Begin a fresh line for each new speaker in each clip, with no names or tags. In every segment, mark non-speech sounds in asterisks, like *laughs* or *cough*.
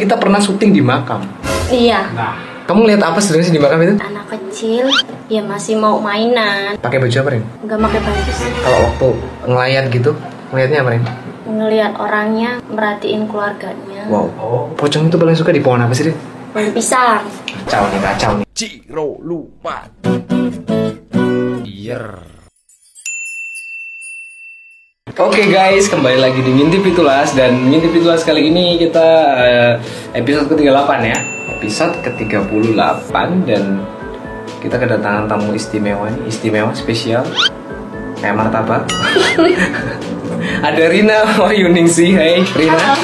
kita pernah syuting di makam.
Iya,
Nah,
Kamu lihat apa sebenarnya di makam itu?
anak kecil ya masih mau mainan,
Pakai baju apa Ren?
nggak pakai baju sih.
Kalau waktu ngelayan gitu, ngelihatnya apa Ren?
Ngelihat orangnya, merhatiin keluarganya.
Wow.
oh,
Pocong itu paling suka di pohon apa sih Ren?
Pohon pisang.
Kacau nih, kacau nih.
Ciro lupa. Iya.
Oke guys, kembali lagi di Ngintip Pitulas dan Ngintip Pitulas kali ini kita eh, episode ke-38 ya.
Episode ke-38
Dan
kita kedatangan tamu istimewa nih, istimewa spesial kayak martabak *laughs* ada Rina Wayuningsi hai Rina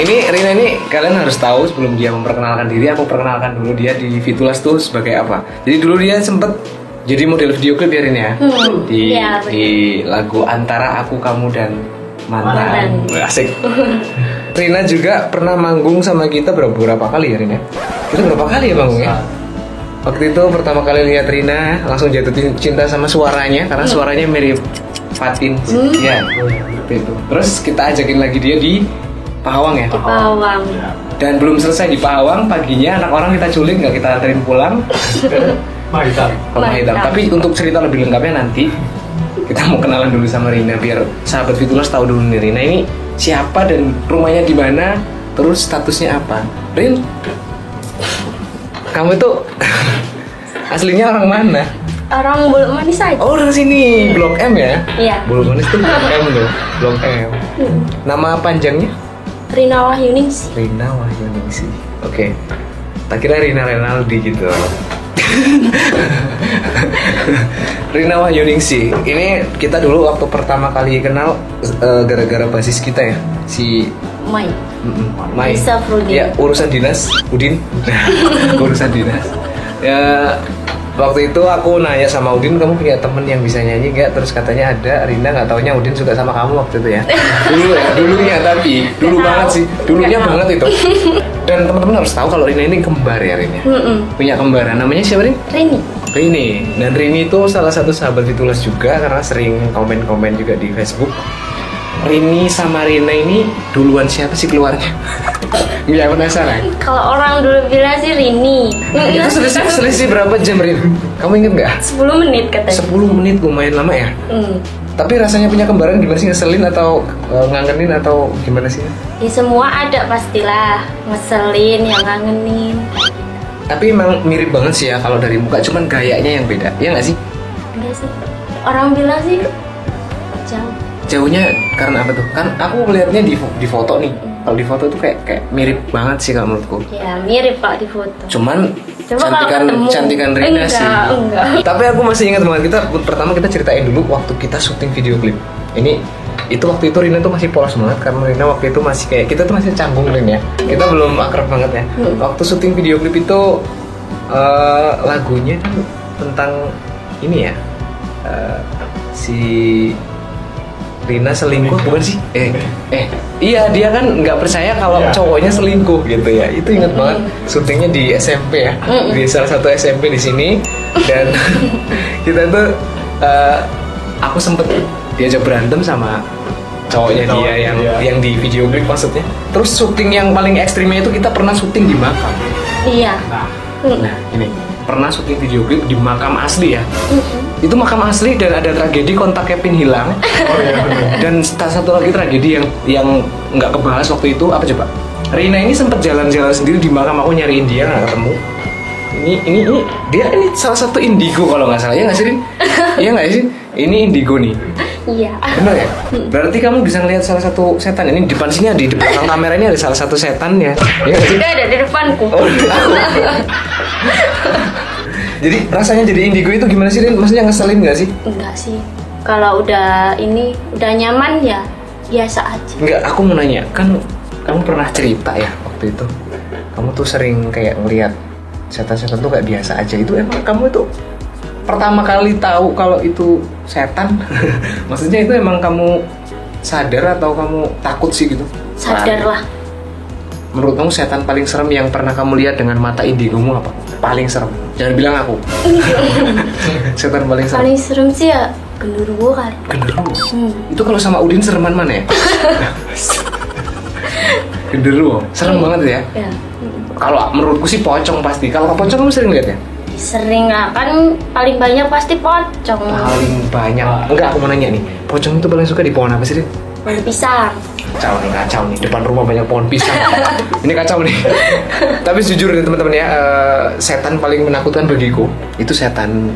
ini Rina ini kalian harus tahu sebelum dia memperkenalkan diri aku perkenalkan dulu dia di Fitulas tuh sebagai apa jadi dulu dia sempet jadi model video klip ya Rina ya
Hmm,
di
iya, benar.
di lagu antara aku kamu dan mantan
Mantan.
asik Rina juga pernah manggung sama kita berapa, berapa kali ya Rina kita berapa kali ya manggung ya Waktu itu pertama kali lihat Rina langsung jatuh cinta sama suaranya karena suaranya mirip Fatin. Iya. seperti itu. Terus kita ajakin lagi dia di Pahawang ya.
Di bawang.
Dan belum selesai di Pahawang paginya anak orang kita culik nggak kita anterin pulang
Mari kita.
ke Rumah Hitam.
Mantap.
Tapi untuk cerita lebih lengkapnya nanti kita mau kenalan dulu sama Rina biar sahabat Fitulas tahu dulu nih Rina ini siapa dan rumahnya di mana terus statusnya apa. Rin, kamu itu *laughs* aslinya orang mana?
Orang bulu manis aja.
Oh, dari sini. Blok M ya?
Iya.
Bulu manis tuh Blok M loh. Blok M. Nama panjangnya?
Rina Wahyuningsi.
Rina Wahyuningsi. Oke. Tak kira Rina Renaldi gitu. *laughs* Rina Wahyuningsi. Ini kita dulu waktu pertama kali kenal eh, gara-gara basis kita ya. Si
Mai.
Mm-mm. Mai.
Bisa, Frudin.
Ya, urusan dinas, Udin. *laughs* urusan dinas. Ya waktu itu aku nanya sama Udin, kamu punya temen yang bisa nyanyi nggak? Terus katanya ada, Rinda nggak taunya Udin suka sama kamu waktu itu *laughs* ya. Dulu ya, dulunya tapi dulu
Nggak
banget
tahu.
sih, dulunya
Nggak tahu.
banget itu. Dan teman-teman harus tahu kalau Rina ini kembar ya Rinnya.
Mm-mm.
Punya kembaran, namanya siapa Rin?
Rini.
Rini dan Rini itu salah satu sahabat ditulis juga karena sering komen-komen juga di Facebook. Rini sama Rina ini duluan siapa sih keluarnya? *laughs* Nggak penasaran.
Kalau orang dulu bilang sih Rini.
Itu selisih selisih berapa jam Rin? Kamu inget nggak?
10 menit katanya.
10 menit lumayan lama ya.
Hmm.
Tapi rasanya punya kembaran gimana sih ngeselin atau eh, ngangenin atau gimana sih?
Ya semua ada pastilah. Ngeselin, yang ngangenin.
Tapi emang mirip banget sih ya kalau dari muka, cuman gayanya yang beda, ya nggak sih?
Enggak sih. Orang bilang sih jauh.
jauhnya karena apa tuh kan aku melihatnya di di foto nih kalau di foto tuh kayak kayak mirip banget sih kalau menurutku
Ya mirip pak di foto.
cuman
gitu. Coba kalau
cantikan
ketemu.
cantikan Rina
Enggak,
sih
enggak.
tapi aku masih ingat banget kita pertama kita ceritain dulu waktu kita syuting video klip ini itu waktu itu Rina tuh masih polos banget karena Rina waktu itu masih kayak kita tuh masih canggung Rina ya kita belum akrab banget ya
Hmm.
waktu syuting video klip itu eh, lagunya kan tentang ini ya eh, si Rina selingkuh bukan sih eh eh iya dia kan nggak percaya kalau
Iya.
cowoknya selingkuh gitu ya itu ingat banget syutingnya di SMP ya di salah satu SMP di sini dan *laughs* kita tuh eh, aku sempet diajak berantem sama cowoknya
Cowok,
dia yang
iya.
yang di video klip maksudnya terus syuting yang paling ekstrimnya itu kita pernah syuting di makam
Iya.
Nah,
Mm.
nah ini pernah syuting video klip di makam asli ya
Hmm.
itu makam asli dan ada tragedi kontak Kevin hilang
*laughs* oh iya bener.
dan sta- satu lagi tragedi yang yang nggak kebahas waktu itu apa coba? Rina ini sempat jalan-jalan sendiri di makam aku nyariin dia nggak ketemu. Ini ini ini dia ini salah satu indigo kalau nggak salah ya nggak sih
*laughs*
Rin? Iya nggak sih? Ini indigo nih. *laughs*
Iya.
Bener ya?
Hmm.
Berarti kamu bisa ngelihat salah satu setan ini di depan sini ada di belakang kamera ini ada salah satu setan ya. Iya nggak sih?
Sudah ada di depanku.
Oh, jadi rasanya jadi indigo itu gimana sih Rin? Maksudnya ngeselin nggak sih?
Enggak sih. Kalau udah ini udah nyaman ya biasa aja.
Enggak, aku mau nanya, kan kamu pernah cerita ya waktu itu Kamu tuh sering kayak ngeliat setan-setan tuh kayak biasa aja Itu emang kamu itu pertama kali tahu kalau itu setan *laughs* Maksudnya itu emang kamu sadar atau kamu takut sih gitu?
Sadar lah.
Nah, Menurut kamu setan paling serem yang pernah kamu lihat dengan mata indigomu apa? Paling serem, jangan bilang aku Setan paling serem
Paling serem sih ya genderuwo kali.
Genderuwo
Hmm.
Itu kalau sama Udin sereman mana ya?
genderuwo.
Serem banget ya.
ya
Kalau menurutku sih pocong pasti. Kalau pocong kamu sering lihat ya?
sering lah kan paling banyak pasti pocong
Paling banyak.
Ah.
Enggak, aku mau nanya nih. Pocong itu paling suka di pohon apa sih? Dit?
Pohon pisang
Kacau nih, kacau nih. Depan rumah banyak pohon pisang. Ini kacau nih. Tapi jujur nih teman-teman ya, eh, setan paling menakutkan bagiku itu setan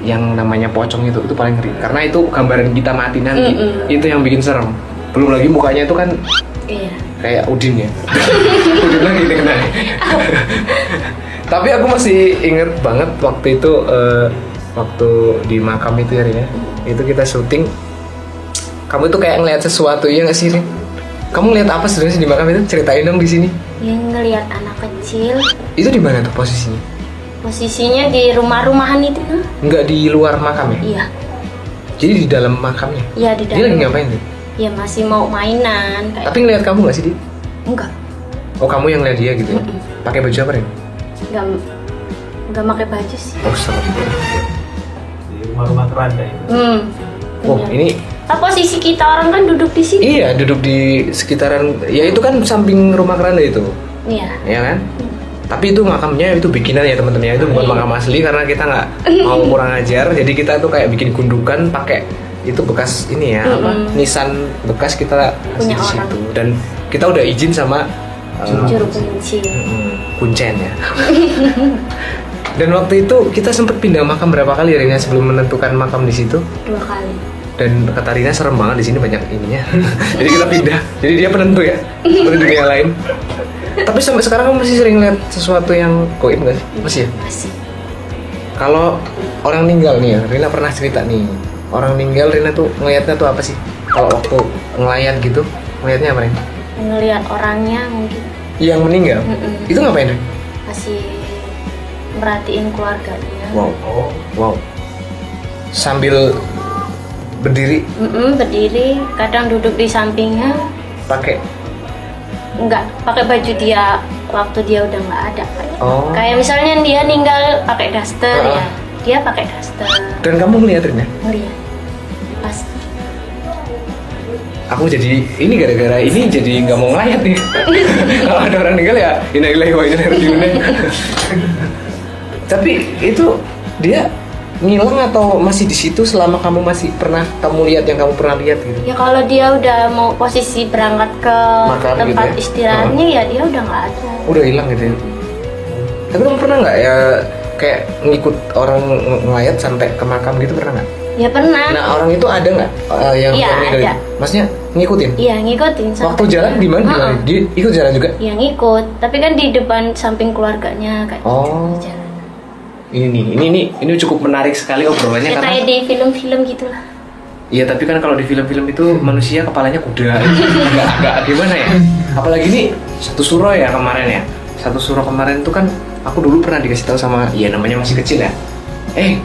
yang namanya pocong itu itu paling ngeri. Karena itu gambaran kita mati nanti.
Mm-mm.
Itu yang bikin serem. Belum lagi mukanya itu kan
iya
kayak Udin ya. *laughs* Udin lagi ini kena. *laughs* Tapi aku masih inget banget waktu itu eh, waktu di makam itu ya Rin, ya. Itu kita syuting. Kamu itu kayak ngeliat sesuatu ya nggak sih Rin? Kamu ngeliat apa sebenarnya sih di makam itu? Ceritain dong di sini.
yang ngelihat anak kecil
Itu di mana tuh posisinya?
posisinya di rumah-rumahan itu nah.
Nggak di luar makam ya?
iya
Jadi di dalam makamnya.
iya di
Dia lagi
dalam
ngapain tuh?
ya masih mau mainan kayak
Tapi ngeliat kamu nggak sih dia?
enggak
Oh kamu yang ngeliat dia gitu ya? Pakai baju apa Rin?
enggak enggak pakai baju sih
Oh serem.
Di rumah-rumah terantai.
hmm
Wah
benar.
ini
Ah, posisi kita orang kan duduk di sini
Iya, duduk di sekitaran, ya itu kan samping rumah keranda itu,
iya
ya kan? Tapi itu makamnya itu bikinan ya teman-teman ya, itu
Iya.
bukan makam asli karena kita
*laughs*
nggak mau kurang ajar, jadi kita tuh kayak bikin gundukan pakai itu bekas ini ya, apa, nisan bekas kita kasih
Punya
di
orang.
situ dan kita udah izin sama eh,
juru kunci
Hmm, kuncen ya. *laughs* dan waktu itu kita sempat pindah makam berapa kali ya Rina sebelum menentukan makam di situ?
dua kali
dan kata Rina serem banget di sini banyak ininya *laughs* jadi kita pindah jadi dia penentu ya seperti dunia lain tapi sampai sekarang kamu masih sering lihat sesuatu yang koin nggak sih masih ya
masih
kalau orang meninggal nih ya Rina pernah cerita nih orang meninggal Rina tuh ngelihatnya tuh apa sih kalau waktu ngelayat gitu ngelihatnya apa Rina
ngelihat orangnya mungkin
yang meninggal
Mm-mm.
itu ngapain Rin?
masih merhatiin keluarganya
wow
Oh,
wow sambil berdiri
Mm-mm, berdiri kadang duduk di sampingnya
pakai
enggak pakai baju dia waktu dia udah nggak ada kayak
Oh.
kayak misalnya dia ninggal pakai daster
Ah.
ya dia pakai daster
dan kamu ngeliat Rina
ngelihat pas
aku jadi ini gara-gara ini jadi nggak mau ngelayat
*laughs*
nih kalau ada orang meninggal ya innalillahi wa inna ilaihi raji'un. tapi itu dia ngilang atau masih di situ selama kamu masih pernah kamu lihat yang kamu pernah lihat gitu
ya kalau dia udah mau posisi berangkat ke
Makam
tempat
gitu ya?
istirahatnya ya dia udah nggak ada
udah hilang gitu ya tapi kamu pernah nggak ya kayak ngikut orang ng- ngelayat sampai ke makam gitu pernah nggak
ya pernah
nah orang itu ada nggak eh, yang
Iya,
yang meninggal
ada.
itu? maksudnya ngikutin
iya ngikutin sampai-
waktu jalan di mana di mana?
Heeh.
dia ikut jalan juga
ya ngikut tapi kan di depan samping keluarganya kayak
Oh.
di jalanan.
ini nih ini nih ini cukup menarik sekali obrolannya
ya
karena
kayak di film-film gitulah
Iya tapi kan kalau di film-film itu manusia kepalanya kuda *laughs* nggak nggak gimana ya apalagi ini satu surau ya kemarin ya satu surau kemarin itu kan aku dulu pernah dikasih tahu sama ya namanya masih kecil ya eh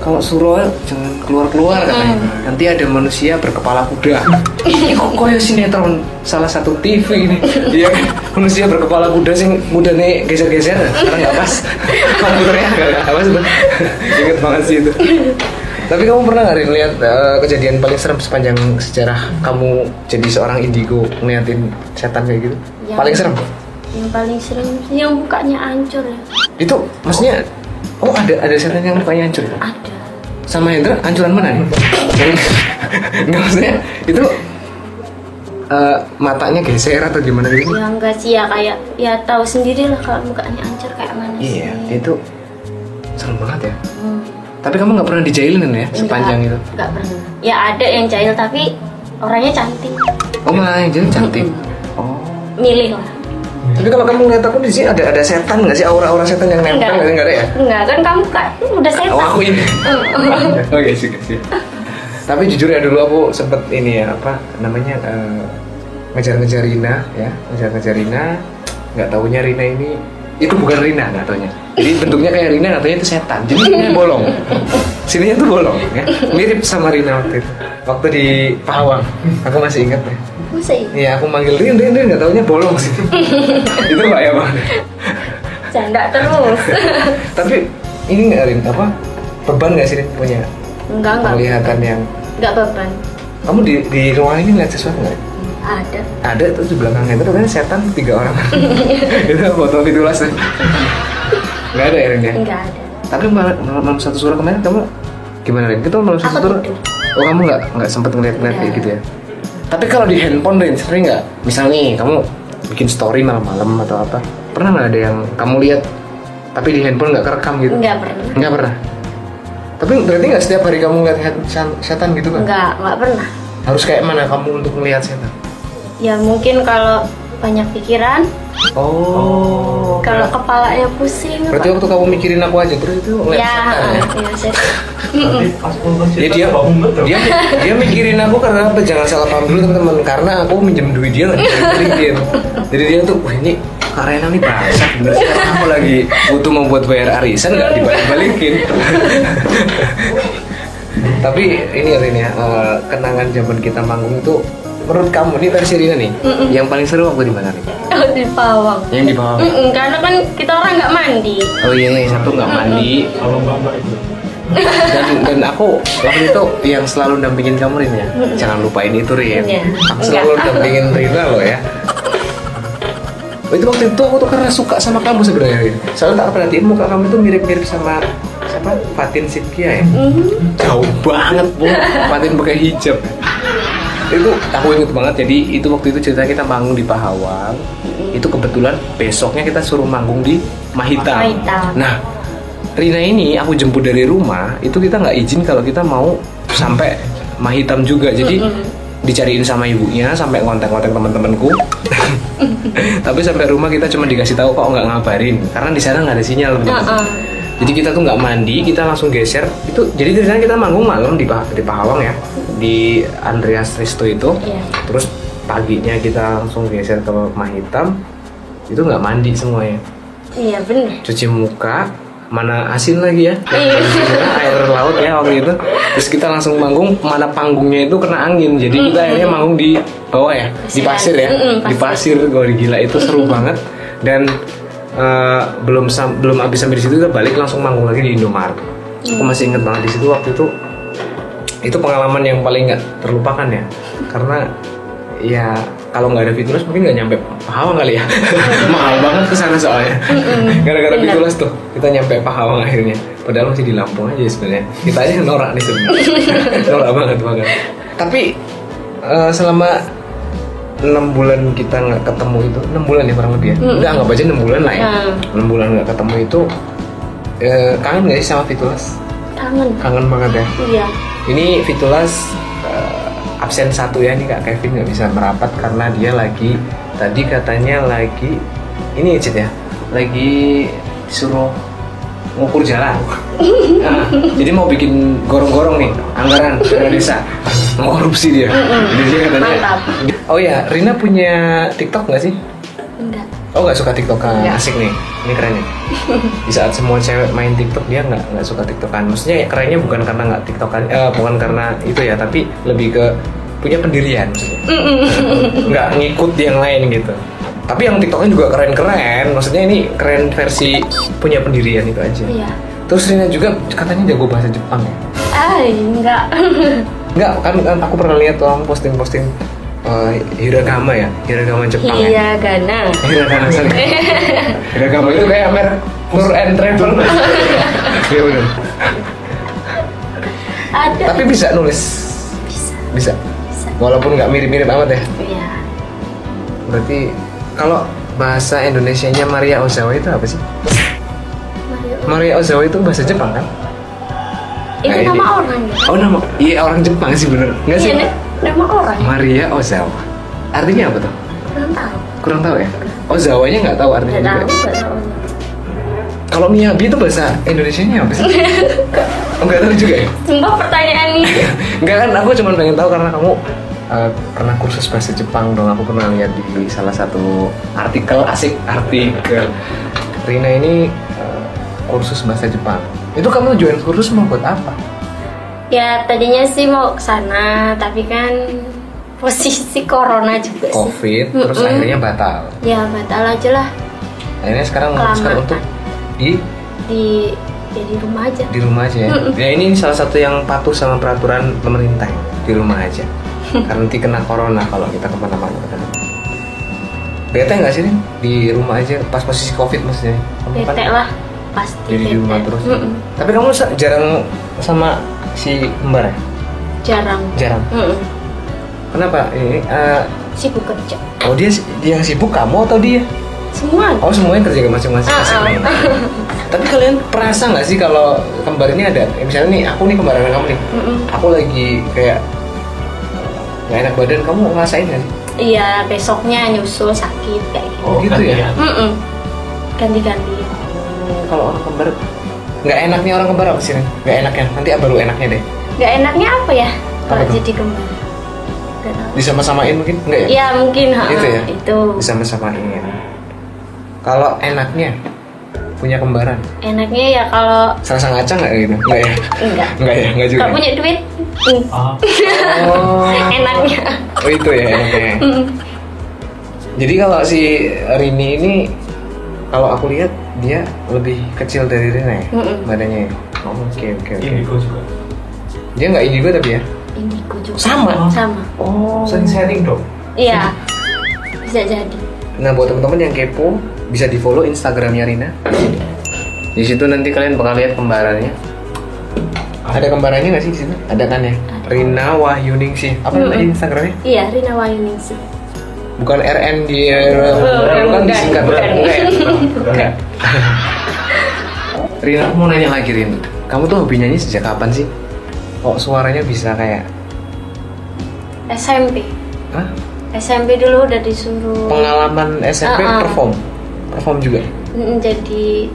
kalau surau jangan keluar-keluar katanya nanti ada manusia berkepala kuda ini kok koyo sinetron salah satu TV ini iya kan manusia berkepala kuda sing muda nih geser-geser karena nggak pas komputernya nggak nggak pas bener. inget banget sih itu tapi kamu pernah nggak melihat kejadian paling serem sepanjang sejarah kamu jadi seorang indigo ngeliatin setan kayak gitu?
Yang-
Paling serem?
yang paling serem sih yang mukanya hancur ya
Itu maksudnya oh ada ada setan yang mukanya hancur.
ada
Sama Hendra hancuran mana nih? *laughs* Enggak maksudnya itu eh, matanya geser atau gimana gitu?
ya enggak sih ya kayak ya tahu sendiri lah kalau mukanya hancur kayak mana sih
Iya, itu serem banget ya.
Hmm.
Tapi kamu nggak pernah dijailin ya sepanjang itu?
Enggak- enggak pernah ya ada yang jahil tapi orangnya cantik
Oh malah yang jahil cantik. Oh.
milih lah
Tapi kalau kamu ngeliat aku di sini ada ada setan nggak sih aura-aura setan yang nempel nggak sih? Nggak ada ya?
enggak kan kamu kan udah setan
Oh, aku ini. Oke sih sih. Tapi jujur ya dulu aku sempet ini ya apa namanya eh, ngejar-ngejar Rina ya, ngejar-ngejar Rina. Nggak taunya Rina ini itu bukan Rina nggak taunya. Jadi bentuknya kayak Rina nggak taunya itu setan. Jadi ini bolong. Sininya tuh bolong ya. Mirip sama Rina waktu itu. Waktu di Pahawang. Aku masih ingat ya.
masih
Iya aku manggil Rin, Rin, Rin nggak taunya bolong sih. *laughs* itu nggak ya bang?
canda
*laughs*
terus
Tapi ini nggak Rin apa beban nggak sih Rin punya
enggak enggak
penglihatan yang
enggak beban
kamu di di ruang ini ngeliat sesuatu nggak?
Hmm, ada
ada itu di belakangnya itu katanya setan tiga orang itu foto pitulas tuh nggak ada ya Rin ya
enggak ada
tapi mal- mal- malam, satu suro kemarin kamu gimana Rin kita malam satu
Aku
suro
tidur.
oh kamu nggak nggak sempet ngeliat-ngeliat kayak
Nggak.
gitu ya tapi kalau di handphone Rin sering nggak misal nih kamu bikin story malam-malam atau apa pernah nggak ada yang kamu lihat tapi di handphone nggak kerekam gitu
enggak pernah
nggak pernah tapi berarti nggak setiap hari kamu ngeliat setan- setan gitu kan
enggak enggak pernah
harus kayak mana kamu untuk melihat setan
ya mungkin kalau banyak pikiran
oh
kalau kepalanya pusing
Berarti
apa-
waktu kamu mikirin aku aja terus itu ngeliat
ya
setan
*laughs*
ya?
ya, saya-
Tapi
*laughs*
pas pulang
Ya,
cerita
dia,
bangun betul.
dia dia mikirin aku karena apa? Jangan salah paham dulu teman-teman karena aku minjem duit dia lagi mikirin dia. Jadi dia tuh wah ini Kak Rena nih bangsa bener sih Karena aku lagi butuh membuat bayar arisan nggak dibalik-balikin. *laughs* Tapi ini ya Rin ya, eh, kenangan zaman kita manggung itu menurut kamu ini versi Rina nih yang paling seru waktu di mana nih?
Oh, di pawang
Yang di bawah.
Mm-mm, karena kan kita orang nggak mandi
Oh iya, yang satu nggak mandi,
Kalau mbak-mbak itu.
dan dan aku waktu itu yang selalu dampingin kamu Rin ya jangan lupain itu Rin
Iya.
aku selalu
Enggak.
dampingin Rina loh ya Oh, itu waktu itu aku tuh karena suka sama kamu sebenarnya Rin soalnya tak perhatiin muka kamu tuh mirip-mirip sama siapa Fatin Sidkia ya
Mhm.
jauh banget bu Fatin pakai hijab itu aku inget banget jadi itu waktu itu cerita kita manggung di Pahawang itu kebetulan besoknya kita suruh manggung di Mahita
Mahita.
nah Rina ini aku jemput dari rumah itu kita nggak izin kalau kita mau sampai Mahitam juga jadi dicariin sama ibunya sampai kontak-kontak teman-temanku *laughs* tapi sampai rumah kita cuma dikasih tahu kok nggak ngabarin karena di sana nggak ada sinyal teman-teman.
Heeh.
Jadi kita tuh nggak mandi, kita langsung geser. Itu jadi di sana kita manggung malam di Pah- di Pahawang ya, di Andreas Risto itu.
Iya.
Terus paginya kita langsung geser ke rumah hitam. Itu nggak mandi semuanya,
iya benar
cuci muka, mana asin lagi ya,
Iya.
air laut ya waktu itu. Terus kita langsung manggung, mana panggungnya itu kena angin. Jadi kita akhirnya manggung di bawah ya, di pasir ya,
Mm-mm,
di pasir. Gue gila itu seru banget dan eh, belum sam- belum habis sampai di situ kita balik langsung manggung lagi di Indomaret. Aku masih inget banget di situ waktu itu itu pengalaman yang paling nggak terlupakan ya karena ya kalau nggak ada Fitulas mungkin nggak nyampe Pahawang kali ya *laughs* mahal banget kesana soalnya *laughs* Iya. gara-gara
benar.
Fitulas tuh kita nyampe Pahawang akhirnya padahal masih di Lampung aja sebenarnya kita aja norak nih *laughs* sebenarnya norak banget banget tapi eh, selama 6 bulan kita nggak ketemu itu 6 bulan ya kurang lebih ya
Mm-mm.
udah anggap aja 6 bulan lah ya
Hmm.
6 bulan nggak ketemu itu eh, kangen nggak sih sama Fitulas?
kangen
kangen banget ya
iya
ini Fitulas eh, absen satu ya nih Kak Kevin nggak bisa merapat karena dia lagi tadi katanya lagi ini ya, Cid ya lagi disuruh ngukur jalan. Nah, jadi mau bikin gorong-gorong nih anggaran dana desa mau korupsi dia. Jadi dia katanya.
Mantap.
Oh ya, Rina punya TikTok nggak sih?
enggak
Oh nggak suka TikTokan?
Nggak.
Asik nih, ini keren nih. Di saat semua cewek main TikTok dia nggak nggak suka TikTokan. Maksudnya ya kerennya bukan karena nggak TikTokan, eh, bukan karena itu ya, tapi lebih ke punya pendirian. maksudnya. *laughs* Nggak ngikut yang lain gitu. Tapi yang TikToknya juga keren-keren. Maksudnya ini keren versi punya pendirian itu aja.
iya
Terus Rina juga katanya jago bahasa Jepang ya?
ay enggak *laughs*
Nggak, kan, kan aku pernah lihat orang posting-posting eh, hiragama ya, hiragama Jepang ya.
iya gana
Hiragana sorry. Hiragama Iya, itu kayak mer tour and travel. Iya bener.
ada
Tapi bisa nulis. Bisa. Walaupun nggak mirip-mirip amat ya.
iya
Berarti kalau bahasa Indonesianya Maria Ozawa itu apa sih? Nah, Maria
Mario
Ozawa itu bahasa Jepang kan?
itu
Nah, ini.
nama orang ya
Oh nama, iya orang Jepang sih bener, nggak sih?
iya na- nama orang ya?
Maria Ozawa. Artinya apa tuh?
belum tahu
Kurang tahu ya. Ozawanya nggak tahu artinya
nggak
Iya juga.
tahu nggak tahu
Kalau Miyabi itu bahasa Indonesianya
*laughs*
apa sih? Oh, Nggak tahu juga ya.
sumpah pertanyaan ini
Enggak kan, aku cuma pengen tahu karena kamu uh, pernah kursus bahasa Jepang dong. Aku pernah lihat di salah satu artikel asik artikel. Rina ini uh, kursus bahasa Jepang. Itu kamu join kursus mau buat apa?
ya tadinya sih mau ke sana tapi kan posisi corona juga sih
Covid, terus
Mm-mm.
akhirnya batal.
ya batal aja lah
Akhirnya sekarang memutuskan
Kelamaan.
untuk di
di ya di rumah aja
di rumah aja ya. Ya ini salah satu yang patuh sama peraturan pemerintah ya. di rumah aja. karena nanti kena corona kalau kita kemana-mana kan. bete nggak sih Rin? di rumah aja pas posisi covid maksudnya Kamu kan
Bete lah pasti.
jadi di
bete.
rumah terus
Mm-mm.
tapi kamu sa- jarang sama si kembar ya?
Jarang.
jarang
Mm-mm.
kenapa ini eh,
Sibuk kerja.
oh dia dia yang sibuk kamu atau dia
Semua.
oh semuanya kerja masing-masing
Ah,
asik
ah.
nih. tapi kalian perasa nggak sih kalau kembar ini ada ya, misalnya nih aku nih kembaran kamu nih
Mm-mm.
aku lagi kayak eh, nggak enak badan kamu ngerasain nggak sih
Iya besoknya nyusul sakit kayak gitu.
Oh, gitu ya?
Mm-mm. Ganti-ganti.
Hmm, kalau orang kembar nggak enaknya orang kembar apa sih Ren? nggak enaknya nanti baru enaknya deh
Gak enaknya apa ya kalau
tuh?
jadi kembar? Gak tahu.
disama-samain mungkin nggak ya
Ya mungkin ha,
Itu ya?
itu.
disama-samain kalau enaknya punya kembaran
Enaknya ya kalau
serasa ngaca nggak gitu nggak ya
enggak.
nggak ya nggak juga
Kalau punya duit, mm,
Ah,
oh,
enaknya.
oh itu ya enaknya
Mm.
jadi kalau si Rini ini kalau aku lihat dia lebih kecil dari Rina ya
Mm-mm.
badannya ya? Oh, oke oke oke
indigo juga.
dia nggak indigo tapi ya
Indigo juga.
Sama?
Sama.
oh
Sering sharing dong.
Iya. Bisa jadi.
Nah buat teman-teman yang kepo bisa di follow Instagramnya Rina. Di situ nanti kalian bakal lihat kembarannya. Ada kembarannya nggak sih di situ? Ada kan ya? Rina Wahyuningsih. Apa nama
Mm-mm.
Instagramnya?
Iya, Rina Wahyuning sih.
Bukan RN di
bukan,
bukan
bukan.
disingkat
Bukan.
Bukan ya?
Enggak.
*laughs* Rina aku mau nanya lagi Rin. Kamu tuh hobi nyanyi sejak kapan sih? Kok suaranya bisa kayak?
SMP.
Hah?
SMP dulu udah disuruh
Pengalaman SMP
Uh-uh.
perform? Perform juga?
mm, jadi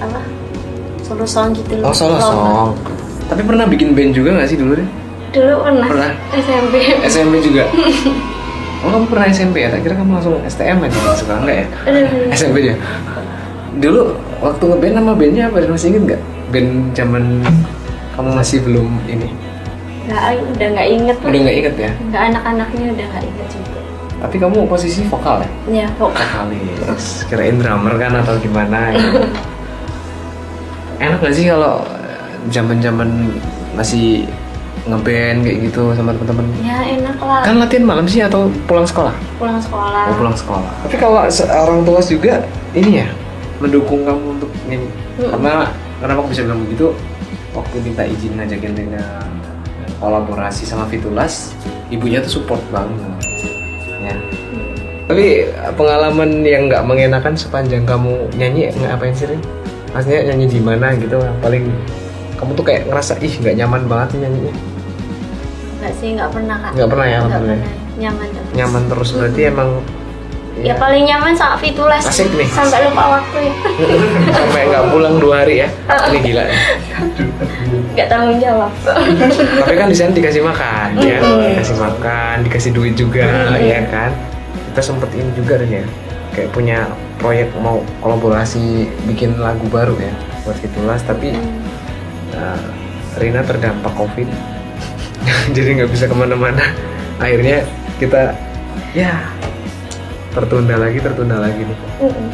apa? Solo song gitu loh.
Oh solo
Lomba.
song. Tapi pernah bikin band juga nggak sih dulu Rin?
Dulu pernah.
Pernah.
SMP.
*laughs* SMP juga. Oh kamu pernah SMP ya? Tak kira kamu langsung STM aja gitu suka enggak ya?
Aduh.
SMP dia. Dulu waktu ngeband nama bandnya apa? Masih inget nggak? Band zaman kamu masih belum ini.
Nggak, udah nggak inget
Udah nggak inget ya?
Nggak anak-anaknya udah nggak inget juga.
Tapi kamu posisi vokal ya?
Ya, pokoknya.
Vokalis. Kirain drummer kan atau gimana? ya. Enak gak sih kalau zaman zaman masih ngeband kayak gitu sama temen-temen?
Ya enak lah.
Kan latihan malam sih atau pulang sekolah?
Pulang sekolah.
mau Oh, pulang sekolah. Tapi kalau se- orang tua juga ini ya mendukung kamu untuk nyanyi.
Mm-mm.
Karena kenapa aku bisa bilang begitu? Waktu minta izin ngajakin Rina kolaborasi sama Fitulas, ibunya tuh support banget. Ya. Tapi eh, pengalaman yang nggak mengenakan sepanjang kamu nyanyi ngapain sih? Rin? Maksudnya nyanyi di mana gitu? yang Paling kamu tuh kayak ngerasa ih nggak nyaman banget nih nyanyinya.
Nggak sih, nggak pernah kak.
Nggak pernah ya,
Nggak
alhamdulillah.
pernah. Nyaman terus.
Nyaman terus berarti emang
Ya paling nyaman sama Fitulas.
Asik nih.
Sampai lupa waktu ya.
sampai nggak pulang dua hari ya.
Ah.
Ini gila. ya.
Nggak tanggung jawab.
tapi kan di sana dikasih makan ya
Mm-mm. Iya.
dikasih makan dikasih duit juga
Mm-mm.
ya kan kita sempet ini juga Rin, ya kayak punya proyek mau kolaborasi bikin lagu baru ya buat Fitulas tapi uh, Rina terdampak covid *laughs* jadi nggak bisa kemana-mana akhirnya kita ya tertunda lagi tertunda lagi nih
Mm-mm.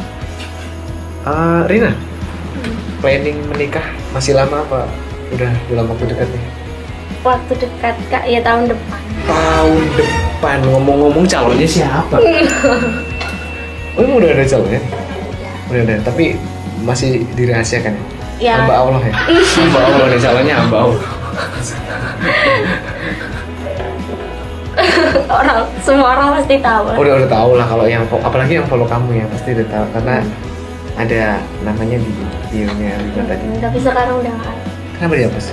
Eh, Rina planning menikah masih lama apa udah dalam waktu dekat nih
Waktu dekat kak, ya tahun depan. *laughs*
tahun depan ngomong-ngomong calonnya siapa? *laughs* Oh, emang udah ada calonnya? Udah ada, tapi masih dirahasiakan ya?
Ya.
Hamba Allah
*laughs*
ya? Hamba Allah nih calonnya hamba Allah.
orang semua orang pasti tahu. lah.
Udah udah tahu lah kalau yang fo- apalagi yang follow kamu ya pasti udah tahu karena ada namanya di bio-nya Rina tadi.
Mm, Hmm. Tapi sekarang udah nggak. ada.
Kenapa dihapus?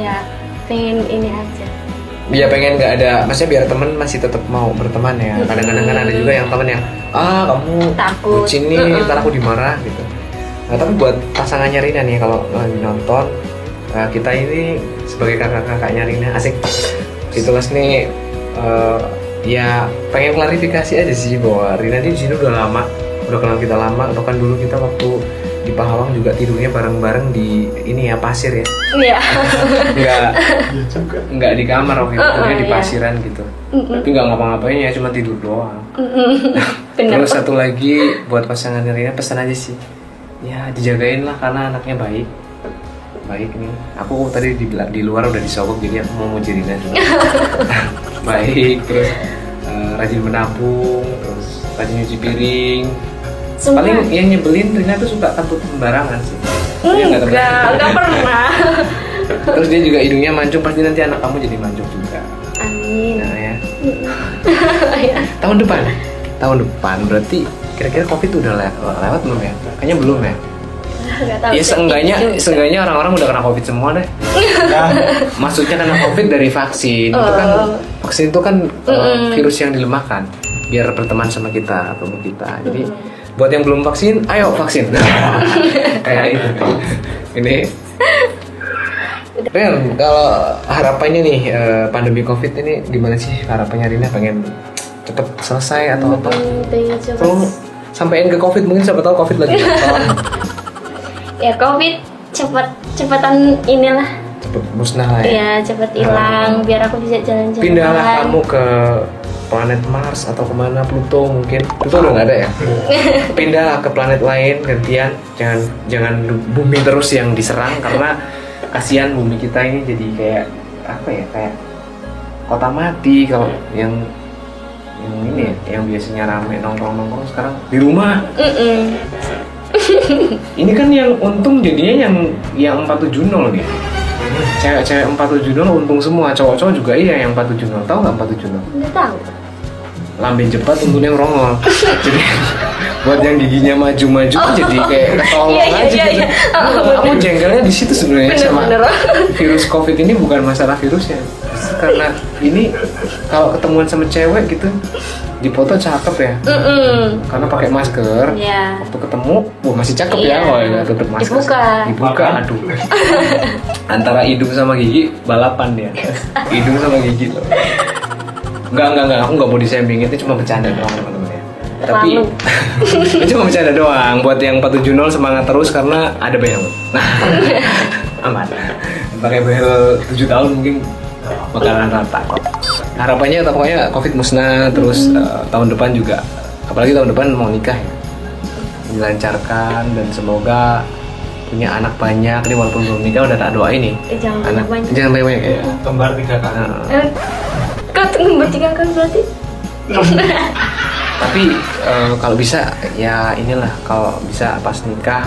Ya pengen ini aja.
Dia pengen nggak ada, maksudnya biar temen masih tetap mau berteman ya. Kadang-kadang kan ada juga yang temen yang ah kamu
Hmm. Takut.
bucin nih,
Mm-mm.
ntar aku dimarah gitu. Nah, tapi buat pasangannya Rina nih kalau lagi nonton eh, kita ini sebagai kakak-kakaknya Rina asik. Itulah nih eh, ya pengen klarifikasi aja sih bahwa Rina ini di sini udah lama, udah kenal kita lama, bahkan dulu kita waktu di Pahawang juga tidurnya bareng-bareng di ini ya pasir
*laughs*
ya.
Iya.
Enggak
Iya juga.
nggak di kamar waktu itu,
Uh-uh,
pokoknya di
iya.
pasiran gitu.
Mm-mm.
Tapi nggak ngapa-ngapain ya, cuma tidur doang.
Bener.
Terus satu lagi buat pasangan Rina pesan aja sih. Ya dijagain lah karena anaknya baik.
*laughs*
Baik nih. Aku tadi di, bela- di luar udah disobek jadi aku mau muji Rina dulu. baik terus eh, rajin menabung terus rajin nyuci piring
Semua.
paling yang nyebelin Rina tuh suka takut sembarangan sih Iya nggak, teman?
enggak enggak pernah
terus dia juga hidungnya mancung pasti nanti anak kamu jadi mancung juga
amin
nah ya
*laughs* Ya.
tahun depan tahun depan berarti kira-kira covid udah le- lewat belum ya kayaknya belum ya
enggak tahu
ya
sih. Iya
seenggaknya seenggaknya orang-orang udah kena covid semua deh maksudnya kena covid dari vaksin itu kan
Oh.
vaksin itu kan uh,
Mm-mm.
virus yang dilemahkan biar berteman sama kita atau sama kita jadi buat yang belum vaksin ayo vaksin
*laughs*
kayak itu ini
Ren, kalau harapannya nih eh, pandemi covid ini gimana sih harapannya Rina pengen cepet selesai atau apa?
Hmm, pengen coba
Oh.
Tolong sampein ke covid mungkin siapa tahu covid
*laughs*
lagi tolong
ya covid cepet cepetan inilah
cepet musnah
Ah,
lah ya.
ya cepet hilang biar aku bisa jalan-jalan
Pindahlah kamu ke planet Mars atau kemana Pluto mungkin Pluto udah nggak ada ya *laughs* pindahlah ke planet lain gantian jangan jangan bumi terus yang diserang karena kasihan bumi kita ini jadi kayak apa ya kayak kota mati kalau yang yang ini ya, yang biasanya rame nongkrong nongkrong sekarang di rumah
Mm-mm.
ini kan yang untung jadinya yang yang 470 nih cewek-cewek 470 untung semua cowok-cowol juga iya yang 470 tahu nggak 470
nggak tahu
lambin cepat untungnya ngerongol jadi buat yang giginya maju-maju jadi kayak ketolong
Oh. Iya, iya,
aja
iya,
gitu
iya. Oh,
Nah, kamu jengkelnya di situ sebenarnya
Bener,
sama
bener.
virus covid ini bukan masalah virusnya Justru karena ini kalau ketemuan sama cewek gitu di foto cakep ya
Mm-mm.
karena pakai masker
ya
waktu ketemu wah masih cakep
Iya.
ya wah ya, tutup masker
Dibuka.
dibuka
Makan.
aduh antara hidung sama gigi balapan
*laughs*
dia hidung sama gigi loh enggak enggak enggak aku nggak mau diseming itu cuma bercanda doang teman-teman ya tapi *laughs*
Terlalu.
itu cuma bercanda doang buat yang 470 semangat terus karena ada behel
*laughs*
nah aman pakai behel 7 tahun mungkin bakalan rata kok harapannya pokoknya covid musnah terus
Hmm.
eh, tahun depan juga apalagi tahun depan mau nikah ya dilancarkan dan semoga punya anak banyak nih walaupun belum nikah udah tak doa ini
Eh, jangan
anak
banyak-banyak. Hmm.
jangan banyak banyak ya
kembar tiga kali
Nah,
Eh, kau tunggu bertiga kan berarti
tapi eh, kalau bisa ya inilah kalau bisa pas nikah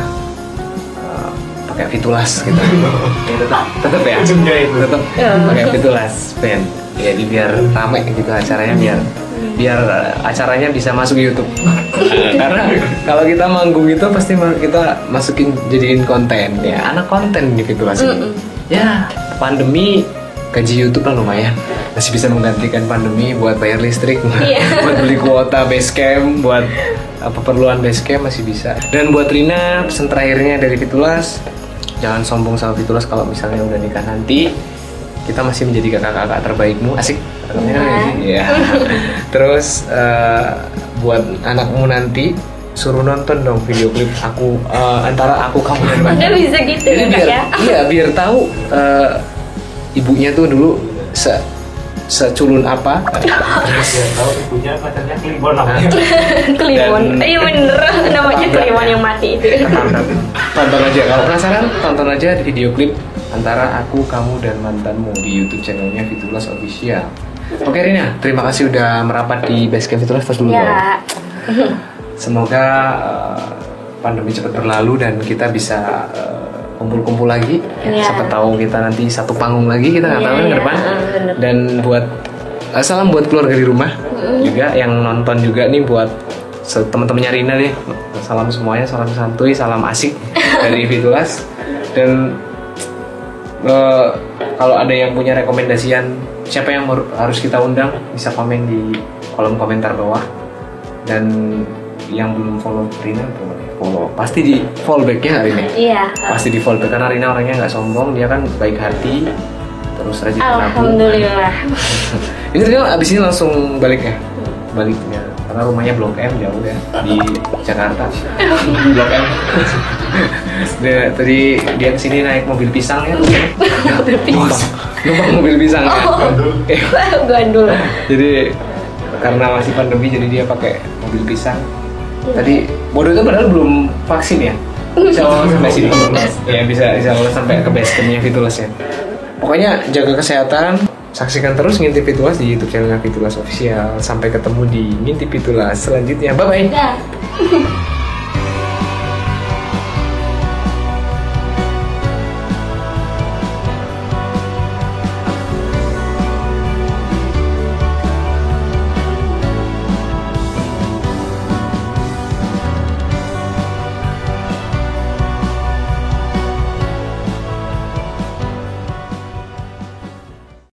eh, pakai fitulas gitu ya, tetap tetap ya
Juga itu.
tetap
Ya.
pakai fitulas pen Ya, jadi biar rame gitu acaranya biar biar eh, acaranya bisa masuk YouTube karena kalau kita manggung itu pasti ma- kita masukin jadiin konten ya anak konten di fitulas ini. ya pandemi gaji YouTube lah lumayan masih bisa menggantikan pandemi buat bayar listrik
Iya.
*laughs* buat beli kuota basecamp buat apa perluan basecamp masih bisa dan buat Rina pesan terakhirnya dari Fitulas jangan sombong sama Fitulas kalau misalnya udah nikah nanti kita masih menjadi kakak-kakak terbaikmu asik Kakaknya kan
Iya.
gini? *laughs* Iya.
Terus eh, buat anakmu nanti suruh nonton dong video klip aku eh, antara aku kamu dan Wanda.
udah bisa gitu
Jadi
ya kak
biar
ya
iya biar tahu eh, ibunya tuh dulu se seculun apa
ya tahu ibunya pacarnya kliwon
*laughs*
namanya
Kliwon,
Dan-
iya bener namanya Kliwon yang mati itu.
Tonton. tonton aja kalau penasaran tonton aja di video klip antara aku kamu dan mantanmu di YouTube channelnya Fitulas Official oke Rina terima kasih udah merapat di Basecamp Fitulas first dulu dong.
Ya,
semoga eh, pandemi cepat berlalu dan kita bisa eh, kumpul-kumpul lagi
Iya.
siapa tahu kita nanti satu panggung lagi kita nggak
Iya,
tahu kan ke
iya,
depan
eh, bener.
dan buat eh, salam buat keluarga di rumah juga yang nonton juga nih buat se- teman-temannya Rina deh salam semuanya salam santuy salam
*laughs*
asik dari Fitulas dan eh, kalau ada yang punya rekomendasian siapa yang har- harus kita undang bisa komen di kolom komentar bawah dan yang belum follow Rina boleh follow pasti di follow backnya hari ini
iya.
pasti di follow back karena Rina orangnya nggak sombong dia kan baik hati terus rajin menabung
Alhamdulillah.
ini Rina abis ini langsung balik ya baliknya karena rumahnya blok M jauh ya di Jakarta blok M *laughs* dia, tadi dia kesini naik mobil pisang ya mobil
pisang.
numpang mobil pisang ya
Gandul.
jadi karena masih pandemi jadi dia pakai mobil pisang tadi bodoh itu padahal belum vaksin ya bisa lolos sampai sini Iya, ya bisa bisa lolos sampai ke basecampnya Fitulas ya pokoknya jaga kesehatan Saksikan terus Ngintip Pitulas di YouTube channelnya Pitulas Official. Sampai ketemu di Ngintip Pitulas selanjutnya. Bye-bye.
Dah.